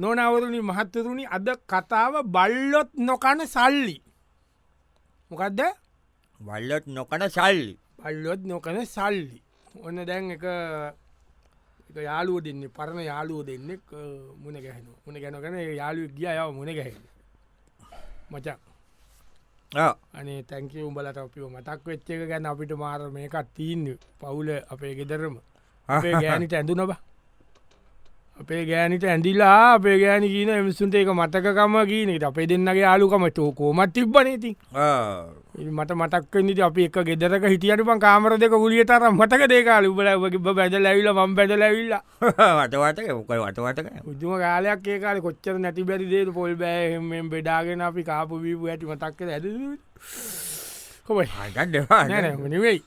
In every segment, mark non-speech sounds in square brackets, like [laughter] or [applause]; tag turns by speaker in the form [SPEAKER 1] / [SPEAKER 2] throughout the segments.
[SPEAKER 1] නොනවරුණි මහත්තරුණි අද කතාව බල්ලොත් නොකන සල්ලි මොකක්ද
[SPEAKER 2] වල්ලොත් නොකන සල්ලි
[SPEAKER 1] බල්ලොත් නොකන සල්ලි ඔන්න දැන් එක එක යාලුව දෙන්න පරණ යාලුව දෙන්නෙක් අ, මුණ ගැහෙන මුණ ගැනගන යාලුව ගිය යාව මුණ ගැහෙන මචක්
[SPEAKER 2] [laughs] ආ,
[SPEAKER 1] අනේ තැන්කි උඹලට අපිෝ මතක් වෙච්ච එක ගැන අපිට මාර මේකත් තිීන්න පවුල අපේ ගෙදරම
[SPEAKER 2] [laughs]
[SPEAKER 1] අපේ ගෑනිට ඇඳුන බ අපේ ගෑනිට ඇඳිලා අපේ ගෑනි කියන මිසුන්ට එක මතකම ගීනට අපේ දෙන්නගේ යාලුකම චෝකෝමත් තිබ්බනේති
[SPEAKER 2] ආ. [laughs]
[SPEAKER 1] මට මතක්කනිට අපි එක ගෙදරක හිටියට පන් කාමර දෙක ගුලිය තර මතක දේකාල උබලගේ බැද ලැවිල ම බැද ලැවිල්ල
[SPEAKER 2] වටවටක මොකයි වටවටක
[SPEAKER 1] උදම කාලයක් ඒකාල කොච්චර නැති බැරි දේට පොල් බෑහෙෙන් බෙඩාගෙන අපි කාපු වීපු ඇති මතක්ක ඇද කොමයි
[SPEAKER 2] අටන් දෙවා
[SPEAKER 1] නැනමනිවෙයි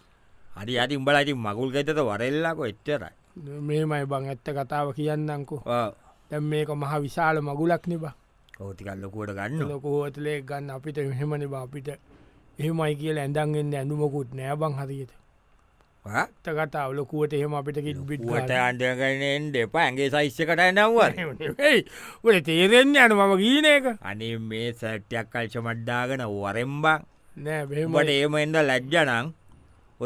[SPEAKER 2] හරි අති උඹලයිති මගුල් ගෙතත වරෙල්ලාකො එච්චරයි
[SPEAKER 1] මේමයි බං ඇත්ත කතාව කියන්නංකු තැම් මේක මහ විශාල මගුලක් නිබා
[SPEAKER 2] කෝතිකල්ලොකුවට ගන්න
[SPEAKER 1] ලොකෝහොතලේ ගන්න අපිට එහෙමනි බාපිට එහෙමයි කියල ඇඳන්ගෙන්න්න ඇඳුමකුත් නෑබං හරියට ඇත්ත කතාව ලොකුවට එහෙම අපිට කිට බිට්
[SPEAKER 2] ුවට අන්ඩගෙනෙන් දෙපා ඇගේ සයිස්්‍යකට නව්වර
[SPEAKER 1] ඒයි ඔට තේරෙන්න්නේ යන මම ගීන එක
[SPEAKER 2] අනේ මේ සැට්ටයක් කල්ශ මඩ්ඩාගෙන වරෙම්බා
[SPEAKER 1] නෑ බෙම
[SPEAKER 2] උඹට ඒම එද ලැජ්ජනං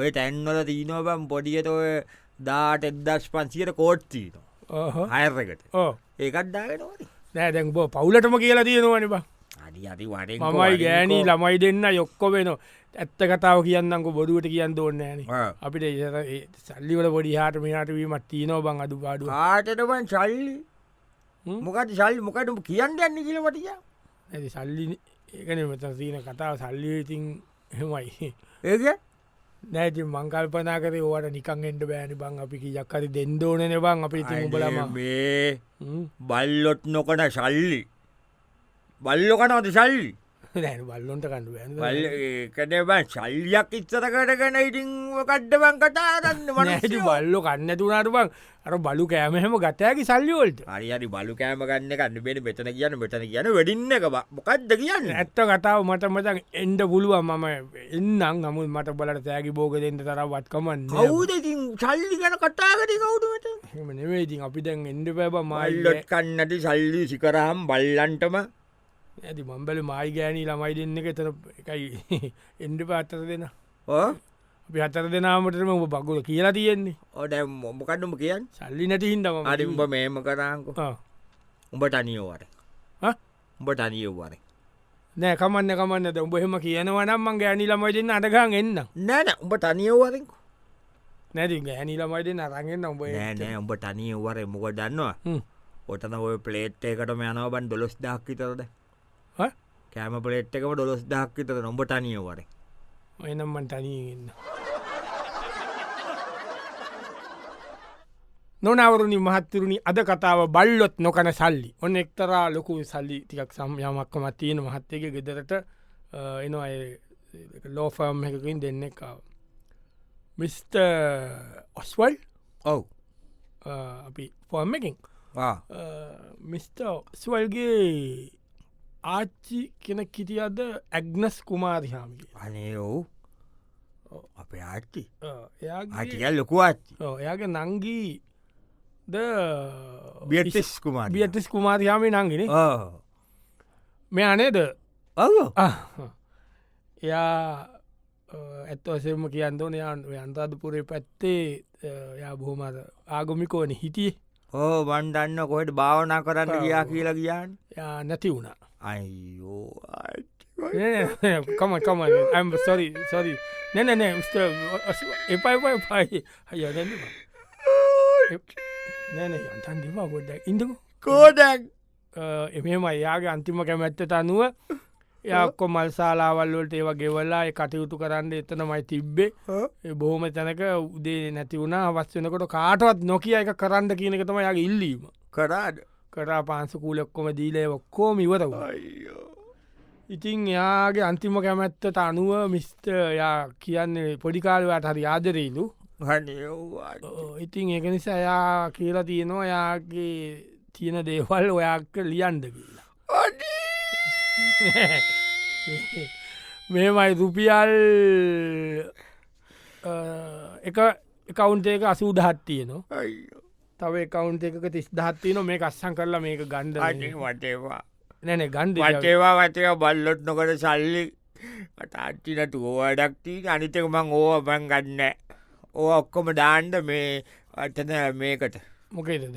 [SPEAKER 2] ඔය තැන්වල තිීනෝබම් පොඩියට ඔය දාට එදස් පන්සියට කෝට්තිීන අයර්රකට
[SPEAKER 1] ඕ
[SPEAKER 2] ඒකත්දාගෙන
[SPEAKER 1] නෑදැන් බෝ පවුලටම කියලා තියෙනවනි බා
[SPEAKER 2] අඩි අති වඩ
[SPEAKER 1] මමයි ගෑනී ළමයි දෙන්න යොක්කො වෙන ඇත්ත කතාව කියන්නක බොරුවට කියන්න ඕන්න ෑන අපිට ඒ සල්ලිවල පොඩි හාට මෙහට වීමත් තිීනෝ බං අඩු පාඩුව
[SPEAKER 2] කාටටබන් ශල්ලි
[SPEAKER 1] හ්ම්?
[SPEAKER 2] මොකට ශල් මොකටම කියන්න යන්න කියලවටිය
[SPEAKER 1] ඇති සල්ලි ඒකන මෙත සීන කතාව සල්ලිඉතින් හෙමයි
[SPEAKER 2] ඒක
[SPEAKER 1] නෑති මංකල්පනා කරේ ඕට නිකන් එට බෑනි බං අපි යක්කරි දෙන්දෝනන බං අපි ඉතින් උඹලම
[SPEAKER 2] අනේ මේ බල්ලොත් නොකන ශල්ලි බල්ලො කනවද ශල්ලි
[SPEAKER 1] නෑ බල්ලොන්ට කඩු
[SPEAKER 2] කනබන් ශල්ලියක් ඉත්තර කරගන ඉටින් කඩ්ඩබන් කටාරන්න
[SPEAKER 1] ඇති බල්ලො කන්න තුනාට බං අර බලු කෑමහෙම ගතයකි සල්ලිවොල්ට
[SPEAKER 2] හරි හරි බලු කෑම ගන්න කන්න බෙන මෙතන කියන්න මෙතන කියන වැඩින්න එක බ- මොකක්ද කියන්න
[SPEAKER 1] ඇත්ත කතාව මට මතන් එන්ඩ පුළුවන් මම එන්නම් නමුත් මට බලට තෑකි බෝග දෙෙන්ට තරවත්කමන්න
[SPEAKER 2] කවුදකින් සල්ලි ගැන කටාගට කවුටුමට
[SPEAKER 1] නෙවේතින් අපි දැන් එන්ඩ පැබ මයිල්ලට
[SPEAKER 2] මල්ලොත් කන්නට සල්ලි සිකරහම් බල්ලන්ටම
[SPEAKER 1] ඇති මම්බල මයි ගෑනී ළමයි දෙන්න එක තර එකයි [laughs] එන්ඩ පාත්තර දෙෙන
[SPEAKER 2] ඕ
[SPEAKER 1] අපි අතර දෙනාමටම ඔබ බගුල කියලා තියෙන්නේ
[SPEAKER 2] ඕඩ මොකටම කියන්න
[SPEAKER 1] සල්ලි නැතිහින්දම
[SPEAKER 2] අරිම්ඹ මේම කරාංකු උඹ තනියෝවට
[SPEAKER 1] ආ?
[SPEAKER 2] උඹ තනියෝවර
[SPEAKER 1] නෑ කමන්න කමන්න උඹ හෙම කියනවනම්මන් ගෑනී ළමයි දෙන්න අටකං එන්න
[SPEAKER 2] නෑන උඹ තනියෝවරෙකු
[SPEAKER 1] නැති ගෑනී ළමයි දෙන්න අරගන්න උඹ
[SPEAKER 2] නෑනෑ උඹ තනියෝවර මොක දන්නවා ඔටන ඔය පලේට්ටේකටම යනවබන් ඩොස් දක්කිතරද කෑම පලේට්කම ඩොස් දක්කිතර නොඹ තනියෝවර
[SPEAKER 1] එනම්මන් තනීගන්න නොනවරුණි මහත්තරුණි අද කතාව බල්ලොත් නොකන සල්ලි ඔන්න එක්තරා ලොකු සල්ලි තිකක් සම්යමක්කම තියෙන මහත්තයක ගෙදරට එනවා ලෝෆර්ම් එකකින් දෙන්න එකව මිස්ට ඔස්වල්
[SPEAKER 2] ඔව්
[SPEAKER 1] අපි ෆෝර්ම් එකින් මිස්ට ස්වල්ගේ ආච්චි කෙන කිටියද ඇග්නස් කුමාරිහාමිගේ
[SPEAKER 2] අනේ ඔව් අපේ ආච්චි
[SPEAKER 1] එයාගේ
[SPEAKER 2] ආටිකල් ලොකුවත්
[SPEAKER 1] ඔව්, එයාගේ නංගී ද
[SPEAKER 2] බියටිස් කුමා
[SPEAKER 1] බියතිස් කුමාතියාමේ නංගෙන මේ අනේද
[SPEAKER 2] ඔව
[SPEAKER 1] එයා අ, ඇත්ත වසෙම කියන්දෝන යන්තාධපුරේ පැත්තේ අ, එයා බොහොමද ආගොමිකෝන හිටිය
[SPEAKER 2] ඕ වන්ඩන්න කොහෙට භාවනා කරන්න ගියා කියලා කියන්න
[SPEAKER 1] යා නැති වුණා
[SPEAKER 2] අයිෝ
[SPEAKER 1] කමන් කමන් ඇම් සොරි සොරි නැනනෑ ස්ට එපයිපයි පයි හය නැන යන්තන්දිවා ගොඩ්ඩක් ඉඳකු
[SPEAKER 2] කෝඩක්
[SPEAKER 1] එමම යාගේ අන්තිම කැමැත්තට අනුව යක්කො මල් සාලාවල්ලට ඒව ගෙවල්ලා ඒ කටයුතු කරන්න එතනමයි තිබ්බේ ඒ බොහොම තැනක උදේ නැති වුණ අවස්්‍යනකොට කාටවත් නොකිය එක කරන්න කියනකතම යගේ ඉල්ලීම
[SPEAKER 2] කරාඩ
[SPEAKER 1] කරා පාන්සකූලක්කොම දීලය ඔක්කෝම ඉවරව ඉතිං එයාගේ අන්තිම කැමැත්තට අනුව මිස්ට යා කියන්නේ පොඩිකාලවට හරි ආදරේලු
[SPEAKER 2] හනවාට
[SPEAKER 1] ඔව්, ඉතින් ඒක නිසා යා කියලා තියෙනවා යාගේ තියෙන දේවල් ඔයාක ලියන්ඩ කියලා මේමයි රුපියල් අ, එක එකවුන්ට එක අසූඩහත් තියනවා
[SPEAKER 2] අයිෝ
[SPEAKER 1] තව තව එකවුන්් එකක තිස් දහත්තින මේ අස්සං කරලා මේක ගන්ධ
[SPEAKER 2] වටේවා
[SPEAKER 1] නැන ගන්ධ
[SPEAKER 2] වටේවා වටය බල්ලොත් නොකට සල්ලි අටාච්චිනට ඕවඩක්ටී අනිතක මං ඕ බං ගන්න ඕ ඔක්කොම ඩාන්්ඩ මේ අටන මේකට
[SPEAKER 1] මොකේදද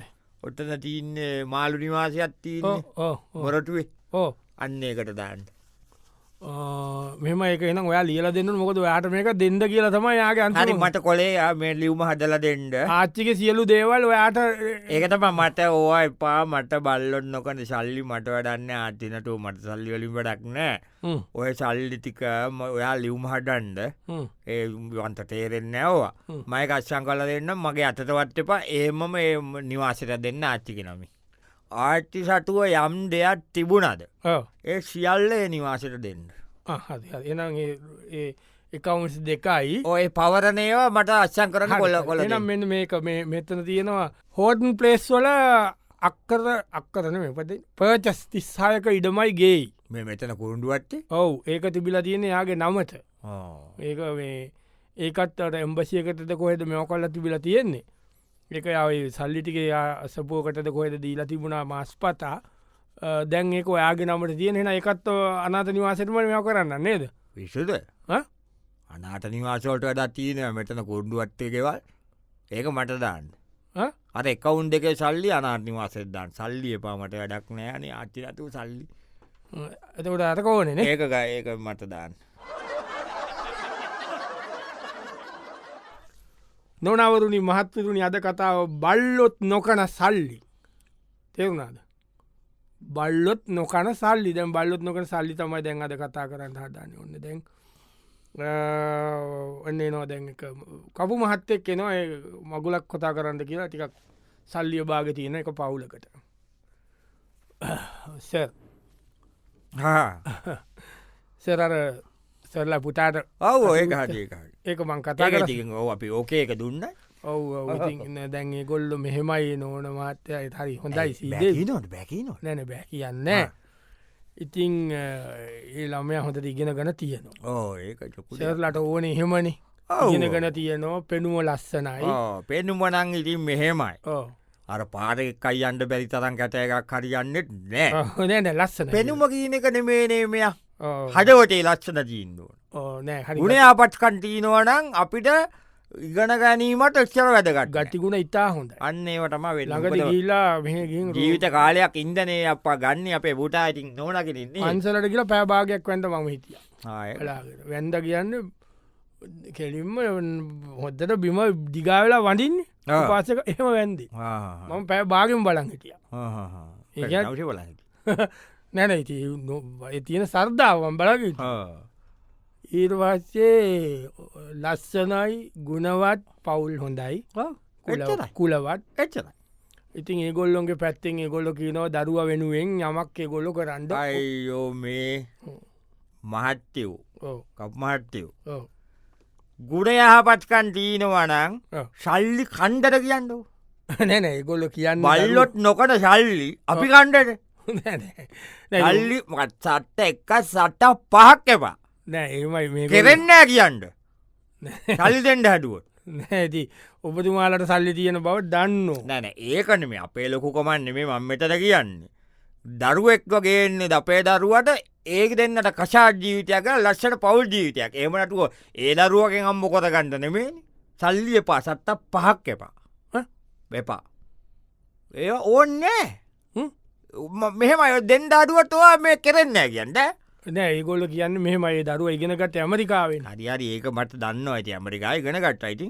[SPEAKER 2] ඔටන තියන්නේ මාලු නිවාසයක් තියන මොරටුවේ
[SPEAKER 1] ඕ
[SPEAKER 2] අන්න එකට දාන්න
[SPEAKER 1] මෙම එක එන ඔයා ලියල දෙන්න මොකද යාට මේක දෙන්න කියලා තම යාගේ
[SPEAKER 2] හරි
[SPEAKER 1] අන්හරි
[SPEAKER 2] මට කොලේ ආ මේ ලිව්ම හදල දෙන්ඩ
[SPEAKER 1] ආච්චික සියලු දේවල් ඔයාට
[SPEAKER 2] ඒකතම මට ඕවා එපා මට බල්ලොත් නොකට සල්ලි මට වඩන්න අතිනට මට සල්ලි වලින් වැඩක් නෑ
[SPEAKER 1] හ්ම්,
[SPEAKER 2] ඔය සල්ලිතික ඔයා ලිව්ම හඩන්ඩ
[SPEAKER 1] හ්ම්.
[SPEAKER 2] ඒ වන්ත තේරෙන්න ඕවා මයක අශ්ෂන් කල දෙන්න මගේ අතතවත් එපා ඒමම ඒ නිවාසට දෙන්න ආච්චික නමි. ආර්ටි සටුව යම් දෙයක් තිබුණද.
[SPEAKER 1] ඔව්.
[SPEAKER 2] ඒ සියල්ල ඒ නිවාසට දෙන්න.
[SPEAKER 1] ආ, හරි, හරි. එහෙනම් ඒ- ඒ එකවුන්ස් දෙකයි
[SPEAKER 2] ඔය පවරණයවා මට අශ්ෂන් කරන කොල්ල කොල
[SPEAKER 1] එනම් මෙන්න මේක මේ මෙතන තියෙනවා හෝටන් පලේස් වල අක්කර අක්කරන මෙපද පර්චස් තිස්සායක ඉඩමයි ගේ
[SPEAKER 2] මේ මෙතන කුරුඩුවත්තේ
[SPEAKER 1] ඔවු ඒක තිබිලා තියෙන යාගේ නමට ඒක මේ ඒකත් අට එම්බසියකටද කොහෙද මෙෝ කල්ල තිබිලා තියෙන්නේ එක යයි සල්ලිටිකේ සපුෝකටද කොහෙද දීලා තිබුණා මස් පතා අ, දැන් ඒක ඔයාගේ නමට තියෙන එකත් අනාත නිවාසටම මෙෝ කරන්න නේද
[SPEAKER 2] විශුද
[SPEAKER 1] ඈ?
[SPEAKER 2] අනාට නිවාසෝට වැඩත් තියනය මෙතන කුරුඩුවත්තේකෙවල් ඒක මට දාන්න.
[SPEAKER 1] ඈ?
[SPEAKER 2] අර එකවුන් දෙක සල්ලි අනාට නිවාසෙදදාන් සල්ලි එපා මට වැඩක් නෑනේ අච්චිරතු සල්ලි
[SPEAKER 1] එතකොට අතක ඕනේ නේ
[SPEAKER 2] ඒක ග- ඒක මට දාන්න.
[SPEAKER 1] නොනවරුණි මහත්තරුණි අද කතාව බල්ලොත් නොකන සල්ලි තෙරුණාද බල්ලොත් නොකන සල්ලි දැ බල්ලොත් නොකන සල්ලි තමයි දැන් අද කතා කරන්න හදාන්න ඔන්න දැන් ඔන්නේ නෝ දැන් එක කපු මහත්තෙක් එනවා ඒ මගුලක් කොතා කරන්න කියලා ටිකක් සල්ලිය භාග තියෙන එක පවුලකට සර්
[SPEAKER 2] හා
[SPEAKER 1] සෙරර සෙරලා පුතාට
[SPEAKER 2] ඔව ඒක හටකාට
[SPEAKER 1] ඒක මං කතා කර
[SPEAKER 2] තකතිකින් ඕ අපි ඕකේ එක දුන්න
[SPEAKER 1] ඔව් ඔව්. ඉතින් දැන් ඒ ගොල්ලො මෙහෙමයි නෝන මාත්‍යය හරි හොඳයි සිදේ
[SPEAKER 2] බැකිනොට බැකිනොට
[SPEAKER 1] නැන බැ කියන්න ඉතිං ඒ ළමය හොඳට ඉගෙන ගන තියනවා
[SPEAKER 2] ඕ ඒක චොකු
[SPEAKER 1] සෙරලට ඕන එහෙමනි
[SPEAKER 2] ඔව්.
[SPEAKER 1] ඉගෙන ගන තියනවා පෙනුව ලස්සනයි
[SPEAKER 2] පෙනුම්මනං ඉතින් මෙහෙමයි
[SPEAKER 1] ඕ
[SPEAKER 2] අර පාරක් අයියන්ට බැරි තරම් කැත එකක් හරියන්නෙත් නෑ
[SPEAKER 1] හොනෑන ලස්සන
[SPEAKER 2] පෙනුම කියීන එක නෙමේනේමය
[SPEAKER 1] ඔව්.
[SPEAKER 2] හඩවටේ ලක්ෂණ ජීන්දුවන
[SPEAKER 1] ඕ, නෑ හරි
[SPEAKER 2] ගුණේ ආපට් කන්ටීනවනං අපිට ඉගන ගැනීමට එක්ෂර වැදගත්
[SPEAKER 1] ගටිගුණ ඉතා හොඳ
[SPEAKER 2] අන්න ඒවටම
[SPEAKER 1] ළඟට
[SPEAKER 2] වෙළඟට
[SPEAKER 1] ගීලා මෙහගින්
[SPEAKER 2] ජීවිත කාලයක් ඉන්දනේ අප ගන්න අපේ බුටා ඉතින් නොනකිරන්නේ
[SPEAKER 1] අන්සලට කියලා පෑභාගයක් වැට මම හිටිය
[SPEAKER 2] ආය
[SPEAKER 1] කලාගෙන වැන්ද කියන්න කෙලින්ම හොද්දට බිම දිගාවෙලා වඩින්
[SPEAKER 2] ආ.
[SPEAKER 1] පාසක එහම වැන්දේ
[SPEAKER 2] ආ
[SPEAKER 1] මම පෑ භාගෙන් බලන් හිටිය ඒ කියන්නේ-
[SPEAKER 2] ඒවල
[SPEAKER 1] නැන ඉති තියෙන සර්දාවන් බලග ඊර්වාසේ ලස්සනයි ගුණවත් පවුල් හොඳයි කුල-
[SPEAKER 2] එච්චරයි.
[SPEAKER 1] කුලවත්
[SPEAKER 2] එච්චන
[SPEAKER 1] ඉතින් ඒගොල්ලොන්ගේ පැත්තෙන් ඒගොල්ලො කියනෝ දරුව වෙනුවෙන් යමක් ඒගොල්ලො කරන්න
[SPEAKER 2] අයෝ මේ මහත්තයව්
[SPEAKER 1] ඕ,
[SPEAKER 2] කප්මහත්තයව්
[SPEAKER 1] ඕ,
[SPEAKER 2] ගුඩ යහපත්කන් දීනවනං
[SPEAKER 1] ඔව්.
[SPEAKER 2] ශල්ලි කණ්ඩට කියන්න
[SPEAKER 1] [laughs] නෑ නෑ ඒගොල්ලො කියන්න
[SPEAKER 2] බල්ලොත් නොකට ශල්ලි අපි කණ්ඩට
[SPEAKER 1] දරුවෝ- [laughs] නෑ, නෑ. නෑ,
[SPEAKER 2] ශල්ලි සට්ට එක සට පහක් එපා
[SPEAKER 1] නෑ ඒමයි [laughs] මේගොල්ලෝ-
[SPEAKER 2] කෙරෙන්න කියන්න ශල්දෙන්ට හැඩුව
[SPEAKER 1] [laughs] නෑ ඇති ඔබතුමාලට සල්ලි තියෙන බව දන්න
[SPEAKER 2] නැන ඒකන මේ අපේ ලොකුකමන්න මේ මං මෙතට කියන්නේ. දරුවෙක්ව ගේන්නේ අපේ දරුවට ඒක දෙන්නට කශා ජීවිතයක ලස්සට පවල් ජීවිතයක් ඒමනටුව ඒ දරුවකෙන් අම්ම කොට ගන්න නෙමේ සල්ලි එපා සත්ත පහක් එපා
[SPEAKER 1] ඈ?
[SPEAKER 2] වෙපා ඒ ඕන්නෑ
[SPEAKER 1] හ්ම්?
[SPEAKER 2] මෙහෙමයි දෙන්ඩාඩුවටවා මේ කෙරෙන්න කියන්න
[SPEAKER 1] නෑ ඒගොල්ල කියන්න මෙහමයි දරුව ඉගෙනගට ඇමරිකාවෙන්
[SPEAKER 2] හරිහරි ඒක මට දන්න ඇති ඇමරිකායි ගෙන ගට්ට අයිති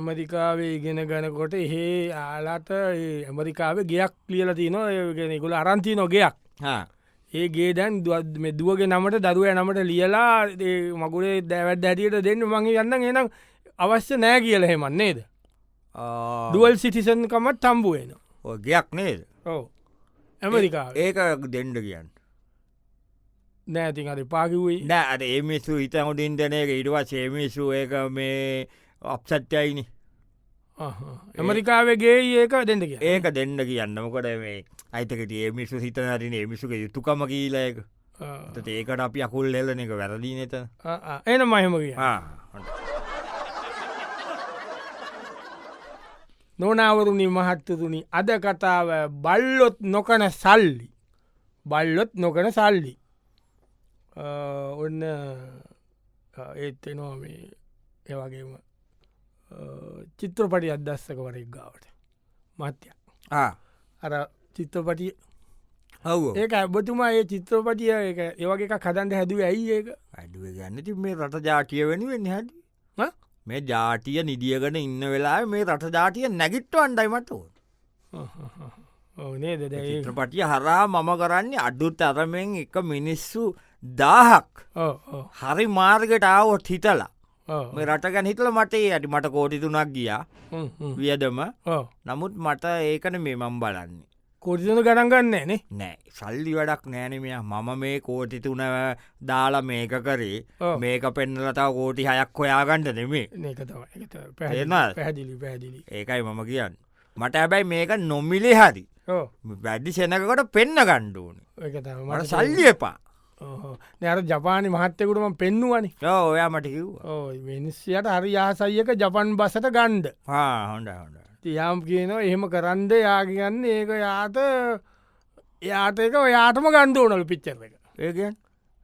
[SPEAKER 1] ඇමරිකාවේ ඉගෙන ගනකොට එහෙ ආලාට ඒ ඇමරිකාවේ ගෙයක් ලියල තියනගෙනෙකුල අරන්ති නොගයක් ඒ ගේ දැන් දුවත් මේ දුවගේ නමට දරුව නමට ලියලා ඒ මගුලේ දැවැත් දැටියට දෙන්න මගේ යන්න එනම් අවශ්‍ය නෑ කියල හෙමන්නේද දුවල් සිටිසන්කමත් තම්බුවෙන
[SPEAKER 2] ගයක් නේද
[SPEAKER 1] ඕ ඇමරිකා
[SPEAKER 2] ඒක දෙන්ඩ කියන්න
[SPEAKER 1] නෑතින් අද පාකිවේ
[SPEAKER 2] නෑ අර ඒමිසු හිත හොඳින් දෙනක ඉඩවා සේමිසු ඒක මේ අප්සත්්‍යයිනි
[SPEAKER 1] ඇමරිකාවගේ ඒක දෙන්න කිය
[SPEAKER 2] ඒක දෙන්න කියන්නමකොට මේ අයිතකට ඒමිසු හිතනරින ඒමිසුක යුතුකම කියීලයක ඒකට අපි අකුල් එල්ලන එක වැරදී නත
[SPEAKER 1] එන මහෙම කිය නොනවරුණි මහත්තතුනි අද කතාව බල්ලොත් නොකන සල්ලි බල්ලොත් නොකන සල්ලි අ, ඔන්න අ, ඒත් එනවා මේ ඒවගේම චිත්‍රපටි අදස්සක වරක් ගාවට මත්‍ය අර චිත්‍රපටිය
[SPEAKER 2] හව
[SPEAKER 1] ඒක ඇබතුමා ඒ චිත්‍රපටිය එක ඒවගේ එකක් හදන්ට හැදුව ඇයි ඒක
[SPEAKER 2] අඩුව ගන්න ති මේ රට ජාටිය වෙනුවෙන් හැටි
[SPEAKER 1] ඈ?
[SPEAKER 2] මේ ජාටිය නිදියගෙන ඉන්න වෙලා මේ රට ජාටිය නැගිට්ට අන්ඩයිමට ඕ
[SPEAKER 1] ඕනේ දෙද
[SPEAKER 2] චිත්‍රපටිය හරා මම කරන්නේ අඩුත් අරමෙන් එක මිනිස්සු දාහක් හරි මාර්ගට ආවොත් හිතලා මේ රට ගැන හිතල මටේ ඇටි මට කෝටි තුනක් ගියා වියදම නමුත් මට ඒකන මේ මම් බලන්නේ
[SPEAKER 1] කොටිසඳ ගඩන් ගන්න නේ
[SPEAKER 2] නෑ සල්ලි වැඩක් නෑනමය මම මේ කෝටි තුන දාලා මේක කරේ
[SPEAKER 1] ඔව්.
[SPEAKER 2] මේක පෙන්නලතාව කෝටි හයක් හොයාගන්ට නෙමේ
[SPEAKER 1] නක තමයි
[SPEAKER 2] තේරෙනවද?
[SPEAKER 1] පැහැදිලි පැදිලි
[SPEAKER 2] ඒකයි මම කියන්න මට හැබැයි මේක නොමිලේ හරි
[SPEAKER 1] ඕ
[SPEAKER 2] වැඩි සෙනකට පෙන්න ගණ්ඩුවන
[SPEAKER 1] එක තම
[SPEAKER 2] මට සල්ලි එපා
[SPEAKER 1] නෑර ජපානය මහත්තයකුටම පෙන්නුවනි
[SPEAKER 2] යෝ, ඔයා මට කිව්වා
[SPEAKER 1] ඕ මිනිස්සියට හරි යාසයික ජපන් බසට ගණ්ඩ
[SPEAKER 2] හා හොඩ හොඩ
[SPEAKER 1] තියම් කියනවා එහෙම කරන්ද යාගන්න ඒක යාත යාතක ඔයාටම ගණ්ඩ ඕනලු පිච්චර එක
[SPEAKER 2] ඒකෙන්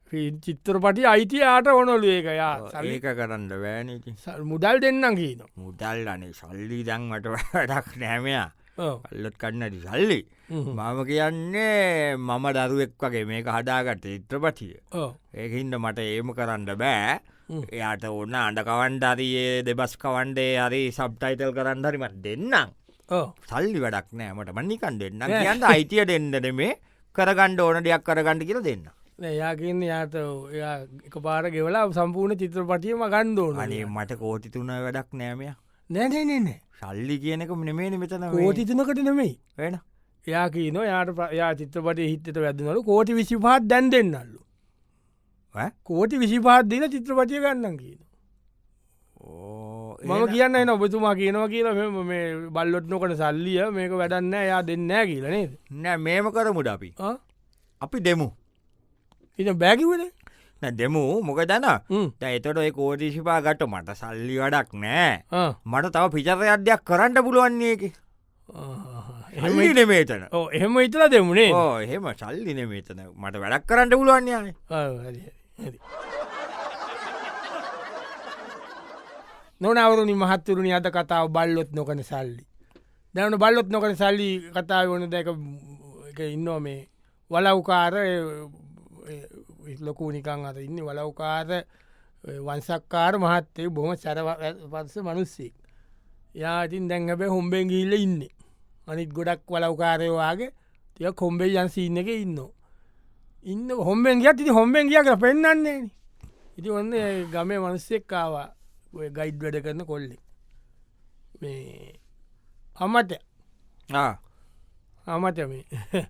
[SPEAKER 1] ෆිල් චිත්‍රපටි අයිති යාට ඕනොලු ඒක යා සල්ලි-
[SPEAKER 2] ඒක කරන්න බෑනති
[SPEAKER 1] සල් මුදල් දෙන්නම් කියනවා
[SPEAKER 2] මුදල් අනේ සල්ලි දංවට වැඩක් නෑමයා
[SPEAKER 1] ඔව්.
[SPEAKER 2] අල්ලොත් කන්නට සල්ලි
[SPEAKER 1] හ්ම්.
[SPEAKER 2] මම කියන්නේ මම දරුවෙක් වගේ මේක හදාගට ඉත්‍රපතිය
[SPEAKER 1] ඔව්.
[SPEAKER 2] ඒහින්ද මට ඒම කරන්න බෑ
[SPEAKER 1] හ්ම්.
[SPEAKER 2] එයාට ඔන්න අඩකවන්ඩරයේ දෙබස් කවන්ඩේ හරි සබ්ටයිතල් කරන්න හරිමත් දෙන්නම්
[SPEAKER 1] ඔව්.
[SPEAKER 2] සල්ලි වැඩක් නෑමට මනිකන් දෙන්න
[SPEAKER 1] නෑ.
[SPEAKER 2] කියන්න අයිතිය දෙන්නට මේ කරගණ්ඩ ඕන දෙයක් කරගණ්ඩ කියල දෙන්න
[SPEAKER 1] නෑ, එයා කියන්න යාත එයා එක පාර ගෙවලා සම්පූර්ණ චිත්‍රපටියම ගණ්ඩෝන
[SPEAKER 2] අනේ මට කෝටිතුන වැඩක් නෑමය
[SPEAKER 1] නැනනන
[SPEAKER 2] සල්ලි කියනක මෙනේ නිමතන
[SPEAKER 1] කෝටිතුනකට නෙමෙයි
[SPEAKER 2] වෙන
[SPEAKER 1] එයා කියීන යාට පයා චිත්‍රපට හිතට වැදනලු කෝටි විසිපාත් දැන් දෙන්නල්ලු
[SPEAKER 2] ඈ?
[SPEAKER 1] කෝටි විසිපාත් දින චිත්‍රපටිය ගන්න කියන
[SPEAKER 2] ඕ
[SPEAKER 1] මම කියන්න එන ඔබතුමා කියනවා කියලා මෙම මේ බල්ලොත් නොකට සල්ලිය මේක වැඩන්න එයා දෙන්න කියලා නේද
[SPEAKER 2] නෑ මේම කරමුට අපි අපි දෙමු
[SPEAKER 1] ඉ බැකිවල
[SPEAKER 2] නෑ දෙමු මොක දන එතට ඔය කෝදේශිපා ගට මට සල්ලි වැඩක් නෑ මට තව පිචර අධ්‍යයක් කරන්න පුළුවන්නේ එක
[SPEAKER 1] එහෙම
[SPEAKER 2] හල්ලි නෙමේතන
[SPEAKER 1] ඔව්, එහෙම ඉතලා දෙමුණේ
[SPEAKER 2] ඕ එහෙම සල්ලි නෙමේතන මට වැඩක් කරන්න පුළුවන්යයි
[SPEAKER 1] නොනවරුණනි මහත්තුරුණනි අත කතාව බල්ලොත් නොකන සල්ලි. දැන බල්ලොත් නොකන සල්ලි කතාව වන දැක ඉන්නෝ මේ වලවකාර ඉස්ලොකූ නිකං අත ඉන්න වලවකාර වන්සක්කාර මහත්තේ බොහම සැරවස මනුස්සෙක්. යාතින් දැන්ගැබේ හොම්බෙන් ගිල්ල ඉන්න. අනිත් ගොඩක් වලවකාරයවාගේ තිය කොම්බේ යන්සිීන්න එක ඉන්නවා. ඉන්න හොම්බෙන් ගියත් ඉති හොම්බෙන් කිය කර පෙන්න්නන්නේ ඉති ඔන්න ඒ ගමේ මනුස්සෙක්කාවා ඔය ගයිඩ් වැඩ කරන කොල්ලෙ මේ අමට අමට මේ [laughs]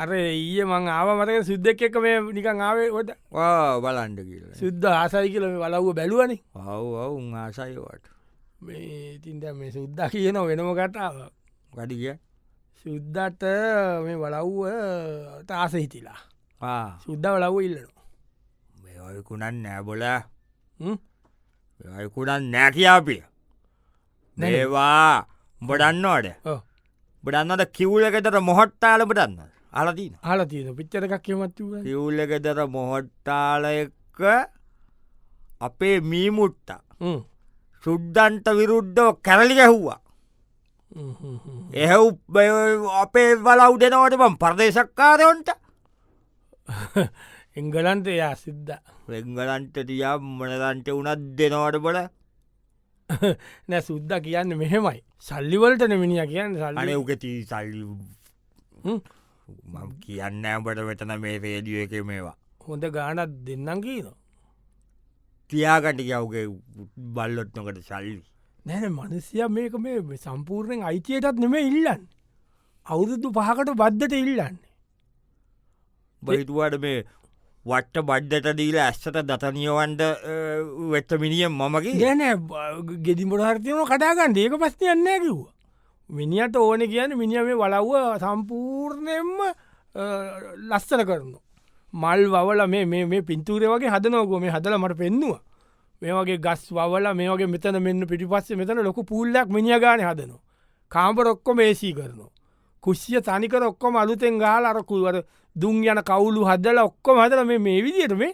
[SPEAKER 1] අර ඊය මං ආව මතක සුද්දක් එක මේ නිකං ආවේ ොට
[SPEAKER 2] බලන්ඩ කියල
[SPEAKER 1] සුද්ද ආසයි කියල මේ වලව්ව බැලුවනි
[SPEAKER 2] ඔව් ඔවුන් ආසයවට
[SPEAKER 1] මේ ඉතින්ද මේ සුද්ද කියන වෙනම කටාව
[SPEAKER 2] වැඩිගිය
[SPEAKER 1] සුද්දට මේ වලව්ව තාස හිතිලා සුද්ද වලව් ඉල්ලනවා
[SPEAKER 2] මේකුණන් නෑබොල
[SPEAKER 1] හ්ම්?
[SPEAKER 2] යකුණන් නෑ කියාපිය
[SPEAKER 1] නෑ.
[SPEAKER 2] නේවා බොඩන්නෝඩ
[SPEAKER 1] ඔව්.
[SPEAKER 2] බඩන්නට කිව්ලකතර මොහොට්ටාල බටන්න අලතින
[SPEAKER 1] අහලා තියෙන පිච්චර එකක් කියමත්ව
[SPEAKER 2] කිව්ලකතර මොහොට්ටාල එක්ක අපේ මීමුට්ට සුද්දන්ට විරුද්ධෝ කැරලි ගැහ්වා එහ අපේ වලව් දෙනවට බම් පර්දේශක්කාරයොන්ට
[SPEAKER 1] [laughs] එංගලන්ට එයා සිද්ධ
[SPEAKER 2] රංගලන්ට තියා මනදන්ට උනත් දෙනවට බොල
[SPEAKER 1] [laughs] නෑ සුද්ද කියන්න මෙහෙමයි සල්ලිවලටන මිනිිය කියන්න
[SPEAKER 2] අනේ
[SPEAKER 1] සල්ලි
[SPEAKER 2] උකති සල්ලි මම කියන්න බට වෙතන මේ රේඩිය එක මේවා
[SPEAKER 1] හොඳ ගානත් දෙන්නම් කියනවා
[SPEAKER 2] තියාකට යවගේ බල්ලොත්නකට සල්ලි
[SPEAKER 1] නැන මනසිය මේක මේ සම්පූර්ණයෙන් අයිතියටත් නෙම ඉල්ලන් අවුරුදු පහකට බද්ධට ඉල්ලන්න
[SPEAKER 2] බහිතුවට මේ වට්ට බඩ්ඩට දීලා ඇස්සට දතනියවන්ඩ වෙත්ත මිනිිය මමකි
[SPEAKER 1] ගැන ගෙදිමොට හර්තියන කටාගන්න ඒක පස්තියන්න කිව්වා මිනිියට ඕන කියන්න මිනිිය මේ වලව්ව සම්පූර්ණයෙන්ම අ, ලස්සන කරනු. මල් වවල මේ- මේ මේ පින්තූරය වගේ හදනෝගො මේ හදල මට පෙන්නවා මේ වගේ ගස් වල මේගේ මෙතන මෙන්න පිටිපස්ස මෙතන ලොක පුල්ලක් මිනිිය ගාන හදනවා කාම්පර ඔක්කොම ඒසී කරනවා. කුෂ්්‍ය තනිකර ඔක්කොම අලුතෙන් ගාල අරකුවර දුන් යන කවුලු හදල ඔක්කොම හදල මේ- මේ විදියට මේ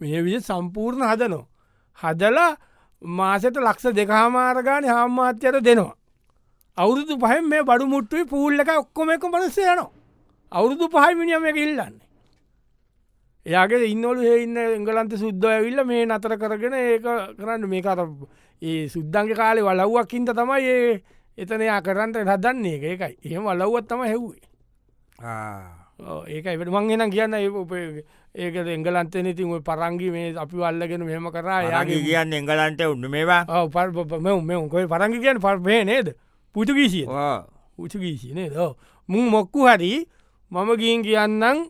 [SPEAKER 1] මේ විදි සම්පූර්ණ හදනෝ. හදලා මාසට ලක්ෂ දෙකහාමාරගාන හාමාත්‍යයට දෙනවා. අවුරුදු පහම මේ බඩු මුට්ටුවේ පූල් එක ඔක්කොම එක මනස්සේ යනවා. අවුරුදු පහමිනිියම එක ඉල්ලන්නේ. එයාගේ ඉන්නවලු ඒ ඉන්න එංගලන්ත සුද්ද ඇවිල්ල මේ නතර කරගෙන ඒක කරන්න මේ අර ඒ සුද්දන්ගේ කාලේ වලව්වක්කින්ට තමයි ඒ එතනයා කරන්ට හදන්නේ එක එකයි එහෙම වලව්වත් තම හෙව්වේ ඔව් ඒකයි වැඩ මං එනම් කියන්න ඒ උපේ ඒක එංගලන්තේ ඉතින් ඔය පරංගි මේ අපි වල්ලගෙන මෙහෙම කරා
[SPEAKER 2] යාගේ
[SPEAKER 1] යාගේ
[SPEAKER 2] කියන්න එංගලන්ට උන්න මේවා
[SPEAKER 1] පර් මෙ මෙකොයි පරංගි කියන්න පර්මය නේද පුතුගීසිය
[SPEAKER 2] ඕ.
[SPEAKER 1] උචගීසිනේ ද මුං මොක්කු හරි මම ගීන් කියන්නම්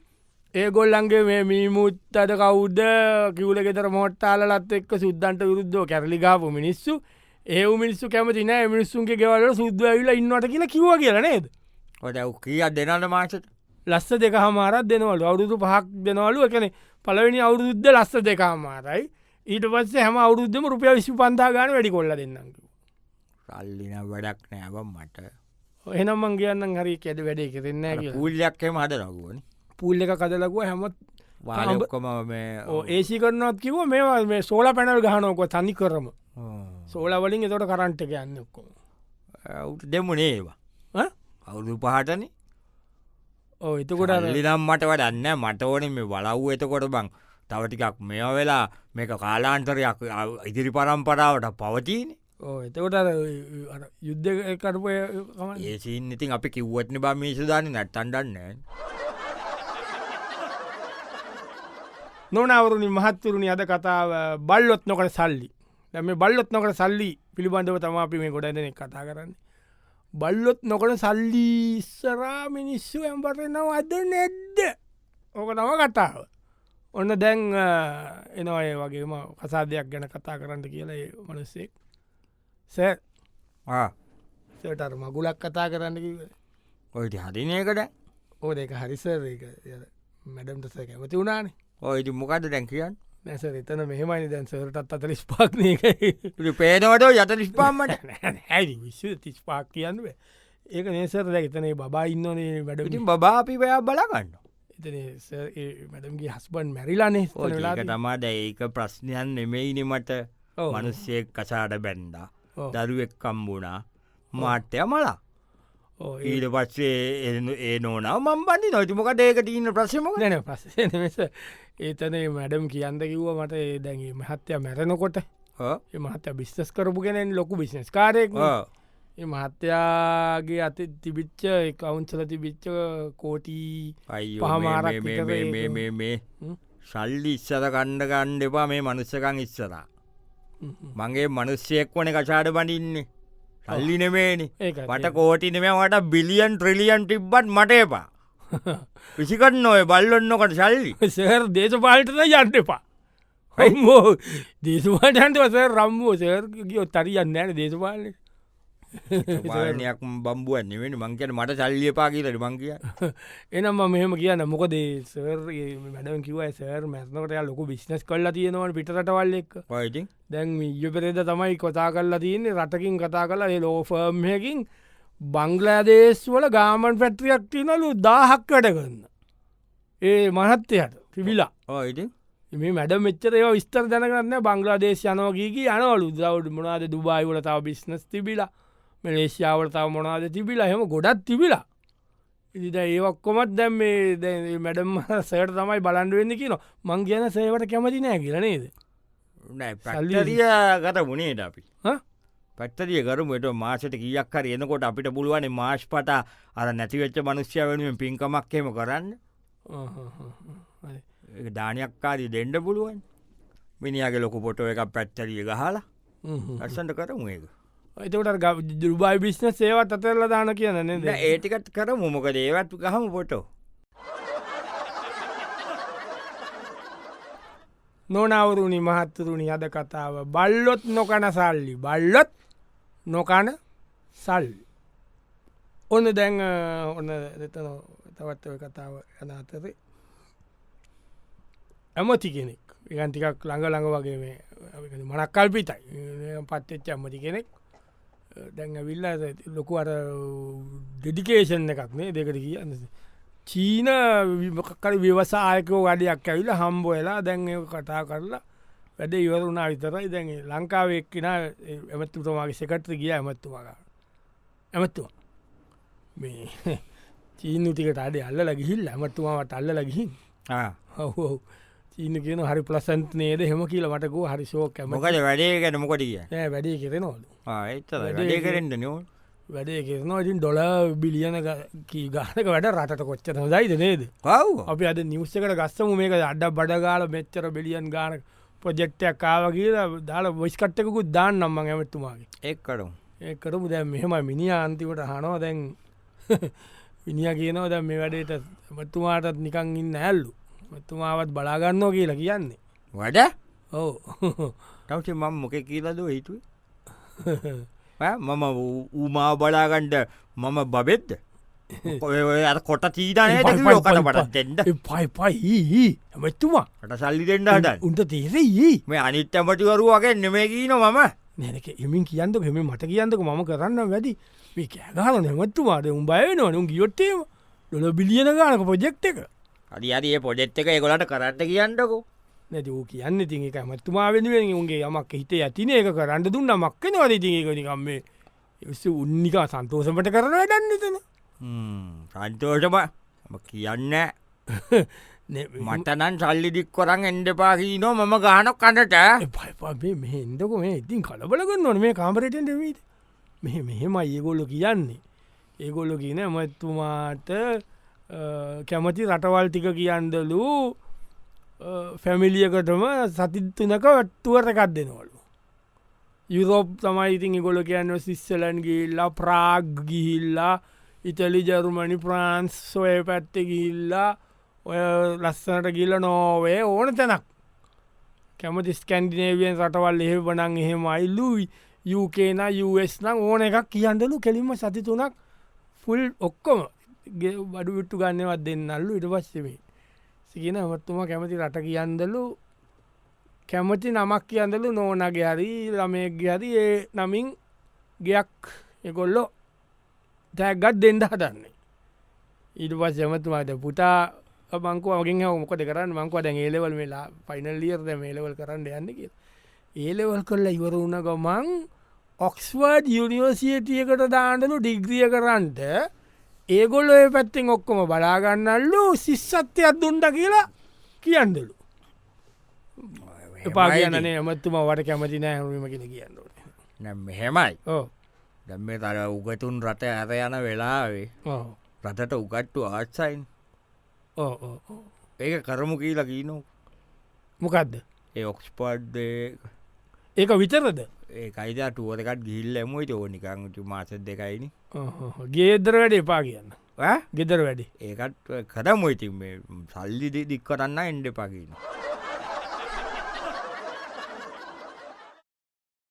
[SPEAKER 1] ඒගොල්ලන්ගේ මේ මීමුත් අද කවුද්ද කිවල ෙතර මොට්ටාලත් එක් සුද්දන්ට විරුද්ධෝ කැරලිගාපු මිනිස්සු ඒ මිනිස්සු කැමති නෑ මිනිස්සුන්ගේ ගෙවල සුද්ද ඇවිල ඉන්නට කියලා කිව කියල නේද
[SPEAKER 2] ඔද කිය දෙනට මාසට
[SPEAKER 1] ලස්ස දෙක හමාරත් දෙනවලු අවුරුදු පහක් දෙනවලු එකන පලවෙනි අවුරුද්ධ ලස්ස දෙක හමාරයි ඊට පස්සේ හම අවුරුද්ධම රුපිය විශ්ු පන්තාගන වැඩි කොල්ල දෙන්නක
[SPEAKER 2] සල්ලින වැඩක් නෑව මට
[SPEAKER 1] එනම්මන් කියන්න හරි කෙඩ වැඩේ කරෙන්න
[SPEAKER 2] පූල්ලයක්හෙම හද රගුවන
[SPEAKER 1] පූල්ල එක කදලකුව හැමත් අඹ-
[SPEAKER 2] වාලකොම මේ
[SPEAKER 1] ඒසි කරනත් කිව මේවා මේ සෝල පැනල් ගහනෝකො තනි කරම සෝලවලින් එතොට කරන්ට ගන්න ඔක්කොම
[SPEAKER 2] ඔවුට දෙමු නේවා
[SPEAKER 1] ඈ?
[SPEAKER 2] අවුදු පහටන
[SPEAKER 1] ඕ එතකොට අර-
[SPEAKER 2] ගොඩලිනම් මට වඩන්න මට ඕන මේ වලව් එතකොට බං තවටිකක් මෙ වෙලා මේක කාලාන්තරයක් අව- ඉදිරි පරම්පරාවට පවතින
[SPEAKER 1] ඕ එතකොට අර අර යුද්ධ කරපය කමන්න
[SPEAKER 2] ඒසින් ඉතින් අපි කිව්වත්න බා මිසදාන නැත්තන්ඩන්න
[SPEAKER 1] නොනවරුණි මහත්තුරුණි අද කතාව බල්ලොත් නොකට සල්ලි දැම බල්ලොත් නොකට සල්ලි පිළිබඳව තම අපි මේ ගොඩ දෙනෙක් කතා කරන්න බල්ලොත් නොකට සල්ලිස්සරා මිනිස්සු ඇම්පරෙනවා අද නැද්ද ඕක නම කතාව ඔන්න දැන් අ, එනවා ඒ වගේම කසා දෙයක් ගැන කතා කරන්න කියලා ඒ මනස්සෙක් සෑ සටර් මගුලක් කතා කරන්න කිව්වේ.
[SPEAKER 2] ඔයිට හදිනයකට
[SPEAKER 1] ඕ දෙක හරිසර මැඩම්ට සැ කැමති වුණානේ
[SPEAKER 2] ඔයිට මොකද දැන් කියන්න
[SPEAKER 1] නැස එතන මෙහෙමයි දැන් සරටත් අතලිස් පාක්නයකයි
[SPEAKER 2] පේනවට යත නිස්්පාමට
[SPEAKER 1] ඇයි විශ්ව තිස් පාක් කියන්නුව ඒක නේසර දැතනේ බා ඉන්නනේ වැඩ
[SPEAKER 2] ඉතින් බාපි පයා බලගන්න මැඩම්ගේ හස්බන් මැරිලානේ ඒක තමාද ඒක ප්‍රශ්නයන් නෙමෙයිනි මට මනුස්සයෙක් කසාට බැන්ඩා දරුවෙක් කම්බුණා මාට්‍යය මලා ඊට පස්සේ එ- ඒ නෝනාව මම් බන්ධි නොතිමක ඒක තිීන්න ප්‍රශ්ම
[SPEAKER 1] නැන පස්සෙස ඒතනේ මැඩම් කියන්න කිව්ව මට ඒ දැන්ගේ මහත්තය මැරෙනකොට ඒ මහත්ත බිස්තස් කරපු කෙනෙන් ලොකු බිස්නස් කාරයෙක් ඒ මහත්තයාගේ අත තිබිච්ච ඒ කවුන්සල තිබිච්ච කෝටී පහමාරක් විතර ඒක.
[SPEAKER 2] මේ
[SPEAKER 1] හ්ම්.
[SPEAKER 2] සල්ලි ඉස්සර කණ්ඩ ගණ්ඩ එපා මේ මනුස්සකං ඉස්සරා
[SPEAKER 1] හ්ම් හ්ම්.
[SPEAKER 2] මගේ මනුස්සයෙක් වන කසාට බඩින්නේ සල්ලි නෙමේනි
[SPEAKER 1] ඒකයි.
[SPEAKER 2] මට කෝටි නෙමේ මට බිලියන් ට්‍රිලියන් ටිබ්බත් මට එපා විසිකන්න ඔය බල්ලොන්නකට
[SPEAKER 1] [laughs]
[SPEAKER 2] සල්ලි
[SPEAKER 1] සර් දේශපාලටද යන්න එපා හයිමෝ දේශවාටන්ට වස රම්මෝ සර් ගියෝ තරියන්න ෑන දේශපාලන
[SPEAKER 2] පාලනයක් බම්බුව නිවෙන මංකන මට සල්ලියපා කියලට මංකිය
[SPEAKER 1] එනම් මම මෙහෙම කියන්න මොකද සර් මැඩම කිව සර් මැත්නකට ලොකු බිස්නස් කල්ලා තියෙනවට පිටවල් එක්
[SPEAKER 2] පයිති
[SPEAKER 1] දැන් යුපෙරේද තමයි කොතා කල්ලා තියන්නේ රටකින් කතා කලා ඒ ලෝෆර්ම්හකින් බංගලෑදේශ වල ගාමන් පැට්‍රියක් තිනලු දාහක් වැඩගන්න ඒ මහත්තයට තිබිලා
[SPEAKER 2] ඕයිති
[SPEAKER 1] මේ මැඩ මෙච්චර ඒ විස්තර දැනගන්න බංගලාදේශ යනෝගීගේ යනවලු දවඩ මොනාද දුබයිවල තාව බිස්නස් තිබිලා මලේෂාවට තාව මොනාද තිබිලා හෙම ගොඩත් තිබිලා ඉදිද ඒවක්කොමත් දැම් මේ දැ [laughs] මැඩම් සයට තමයි බලන්ඩ වෙන්න කියන මං කියන සේවට කැමති නෑ කියල නේද සල්ලි.
[SPEAKER 2] පැලිය ගත වුණේට අපි
[SPEAKER 1] හ?
[SPEAKER 2] පැත්තරිය කරමට මාසට කියක් හර එනකොට අපිට පුළුවන මාශ් පට අර නැතිවෙච්ච මනුෂ්‍ය වෙනුවෙන් පින්කමක්හෙම කරන්න
[SPEAKER 1] හරි.
[SPEAKER 2] ඒක දානයක්කාරී දෙන්ඩ පුළුවන් මිනිියගේ ලොක පොටෝ එකක් පැත්තරිය ගහලා
[SPEAKER 1] හ්ම් හ්ම්.
[SPEAKER 2] ලස්සට කරමු ඒක
[SPEAKER 1] එතකට ග දුබයි බිස්න සේවත් අතරල දාන කියන නේද
[SPEAKER 2] ඒටිකත් කර මොමකද ඒවත් ගහම පොටෝ
[SPEAKER 1] නොනවරුණි මහත්තුරුණි අද කතාව බල්ලොත් නොකන සල්ලි බල්ලොත් නොකන සල්ලි ඔන්න දැන් අ, ඔන්න දෙතන තවත් ඔය කතාව යන අතරේ ඇමති කෙනෙක් ඒකන්තිකක් ළඟ ළඟ වගේ මේ මනක්කල්පිතයි පත්තච්ච ඇමති කෙනෙක් දැන් ඇවිල්ල ලොකු අර ඩෙඩිකේෂන් එකක් මේ දෙකට කියන්න චීන විමකර ව්‍යවසායකෝ වැඩයක් ඇවිල හම්බෝයලා දැන් ඒ කතා කරලා වැඩ ඉවරුණා විතරයි දැන් ඒ ලංකාවෙක්කෙන ඇමත්තුතුමාගේ සෙකට්‍ර ගිය ඇමත්තුවා ඇමත්තුවා මේ [laughs] චීනු ටිකට අඩ අල්ල ලගිහිල් ඇමත්තුමාට අල්ල ලගිහින් හෝ චීන කියන හරි ප්‍රසන්ත් නේද හෙම කියල මටකෝ හරිශෝ කැම
[SPEAKER 2] මොකද වැඩේ ගැන මොකට කිය
[SPEAKER 1] වැඩේ කෙරෙනවලු
[SPEAKER 2] ඒත
[SPEAKER 1] වැඩේ
[SPEAKER 2] වැඩේ
[SPEAKER 1] ගැන-
[SPEAKER 2] කරෙන්ට නියෝ
[SPEAKER 1] වැඩේ කරනවා ඉතින් ඩොල බිලියන කී ගානක වැඩ රට කොච්චර දයිද නේද
[SPEAKER 2] පව්
[SPEAKER 1] අපි අද නිවස්සකට ගස්සම මේක අඩ බඩගාල මෙච්චර බෙලියන් ගාන ප්‍රජෙක්්ටයක් කාව කියලා දාල බොයිස්කට්ටකුත් දාන්න නම්ම ඇමත්තුමාගේ
[SPEAKER 2] එක්කටු
[SPEAKER 1] ඒ කරපු දැ මෙහෙම මිනි අන්තිකට හනෝ දැන් [laughs] විනිිය කියනව දැ මේ වැඩට මත්තුමාටත් නිකං ඉන්න ඇල්ලු මත්තුමාවත් බලාගන්නෝ කියලා කියන්නේ
[SPEAKER 2] වැඩ
[SPEAKER 1] ඕ
[SPEAKER 2] තවසේ මං මොක කියලද හිතුයි මම උමා බලාගන්ඩ මම බබෙද්ද ඔය ඔය අර කොට චීතනය
[SPEAKER 1] [laughs]
[SPEAKER 2] ලොකට පටත් දෙෙන්ඩ
[SPEAKER 1] පයි පයි ඇමත්තුමා
[SPEAKER 2] ට සල්ලි දෙෙන්ඩාට
[SPEAKER 1] උන්ට තේරෙයි
[SPEAKER 2] මේ අනිත් ඇමටිවරුවගේ නෙමේ කියීන මම
[SPEAKER 1] නැනක එමින් කියන්න හෙම මට කියන්නක මම කරන්න වැඩි මේ කෑගාල නැමත්තුමාට උම් බයනවා නුම් ගියොත්තේම ලොල බිලියන ගානක පොජෙක්් එක
[SPEAKER 2] අඩි අරයේ පොඩෙට් එක එකොලට කරන්න කියන්නකෝ
[SPEAKER 1] නැති ූ කියන්න ති එක මත්තුමා වෙනුවෙන් උන්ගේ යමක් හිත ඇතින එක කරන්න දුන්න මක්කනවද තිකනිකම්මේ එස උන්නිකා සන්තෝසමට කරන වැඩන්න තන
[SPEAKER 2] සන්තෝෂම ම කියන්න මටනන් සල්ලි ඩික් කොරන් එන්ඩපා කියීනෝ මම ගානක් කන්නට
[SPEAKER 1] පපේ මෙහෙන්දක මේ ඉතින් කලබලගන්න නොන මේ කාමරටෙන් දෙවීද මෙ මෙහෙම ඒගොල්ලො කියන්නේ ඒගොල්ලො කියන ඇමත්තුමාට අ, කැමති රටවල් ටික කියන්දලු ෆැමිලියකටම සතිත්තුනක වට්ටුවරකක් දෙනවලු යුරෝප් තමයි ඉතින් ගොල කියන්න සිස්සලන් ගිල්ලා ප්‍රාග් ගිහිල්ලා ඉතලි ජරුමණි ප්‍රාන්ස් සොය පැත්ත ගිල්ලා ඔය ලස්සනට ගිල්ල නෝවේ ඕන තැනක් කැමති ස්කන්ඩිනේවියන් රටවල් එහෙ වනන් එහෙම අයිල්ලුයි යුකේන යස් නම් ඕන එකක් කියන්දලු කෙලින්ම සතිතුනක් ෆුල් ඔක්කොම ගේ බඩු විට්ටු ගන්නවත් දෙන්නල්ලු ඉට පස්සවේ සිගෙන හමත්තුම කැමති රට කියන්දලු කැමති නමක් කියන්දලු නෝනගේ හරි ළමයගේ හරි ඒ නමින් ගයක් එකොල්ලෝ තැක්ගත් දෙන්ඩ හදන්නේ ඊට පස් යමතුමාට පුතා මංකුව මගින් මොකද කරන්න මංකුව දැන් ඒලෙවල් වෙලා පයිනල්ලියර්ද මේලවල් කරන්න යන්න කිය ඒලෙවල් කොල්ල ඉවර වුණ ගොමන් ඔක්ස්වර්ඩ් යුනිවර්සිටියකට දාන්නලු ඩිග්‍රිය කරන්ට ඒගොල්ල ඔය පැත්තිෙන් ඔක්කොම බලාගන්නල්ලු සිස්සත්්‍යයක් දුන්ඩ කියලා කියන්දලු
[SPEAKER 2] Eh,
[SPEAKER 1] එපා කියනේ ඇමත්තුම වට කැමති නෑ හැරීම කියෙන කියන්නට
[SPEAKER 2] මෙහෙමයි
[SPEAKER 1] ඕ
[SPEAKER 2] දැම්ම තර උගතුන් රට ඇර යන වෙලාවේ
[SPEAKER 1] ඕ
[SPEAKER 2] රටට උගට්ටු ආත්සයින්
[SPEAKER 1] ඕ ඕ ඕ.
[SPEAKER 2] ඒක කරමු කියලා කියීනු
[SPEAKER 1] මොකක්ද
[SPEAKER 2] ඒ ඔක්ස්පර්ඩ්
[SPEAKER 1] ඒක විතරද
[SPEAKER 2] ඒ කයිදා ටුවරකත් ගිල්ල ඇමුවයි ඕනිකංචු මාස දෙකයිනි
[SPEAKER 1] Oh, ගේදර වැඩ එපා කියන්න ගෙදර වැඩි
[SPEAKER 2] ඒකත් කරමුයිති සල්ලි දෙ දික් කරන්න එන්ඩ පකින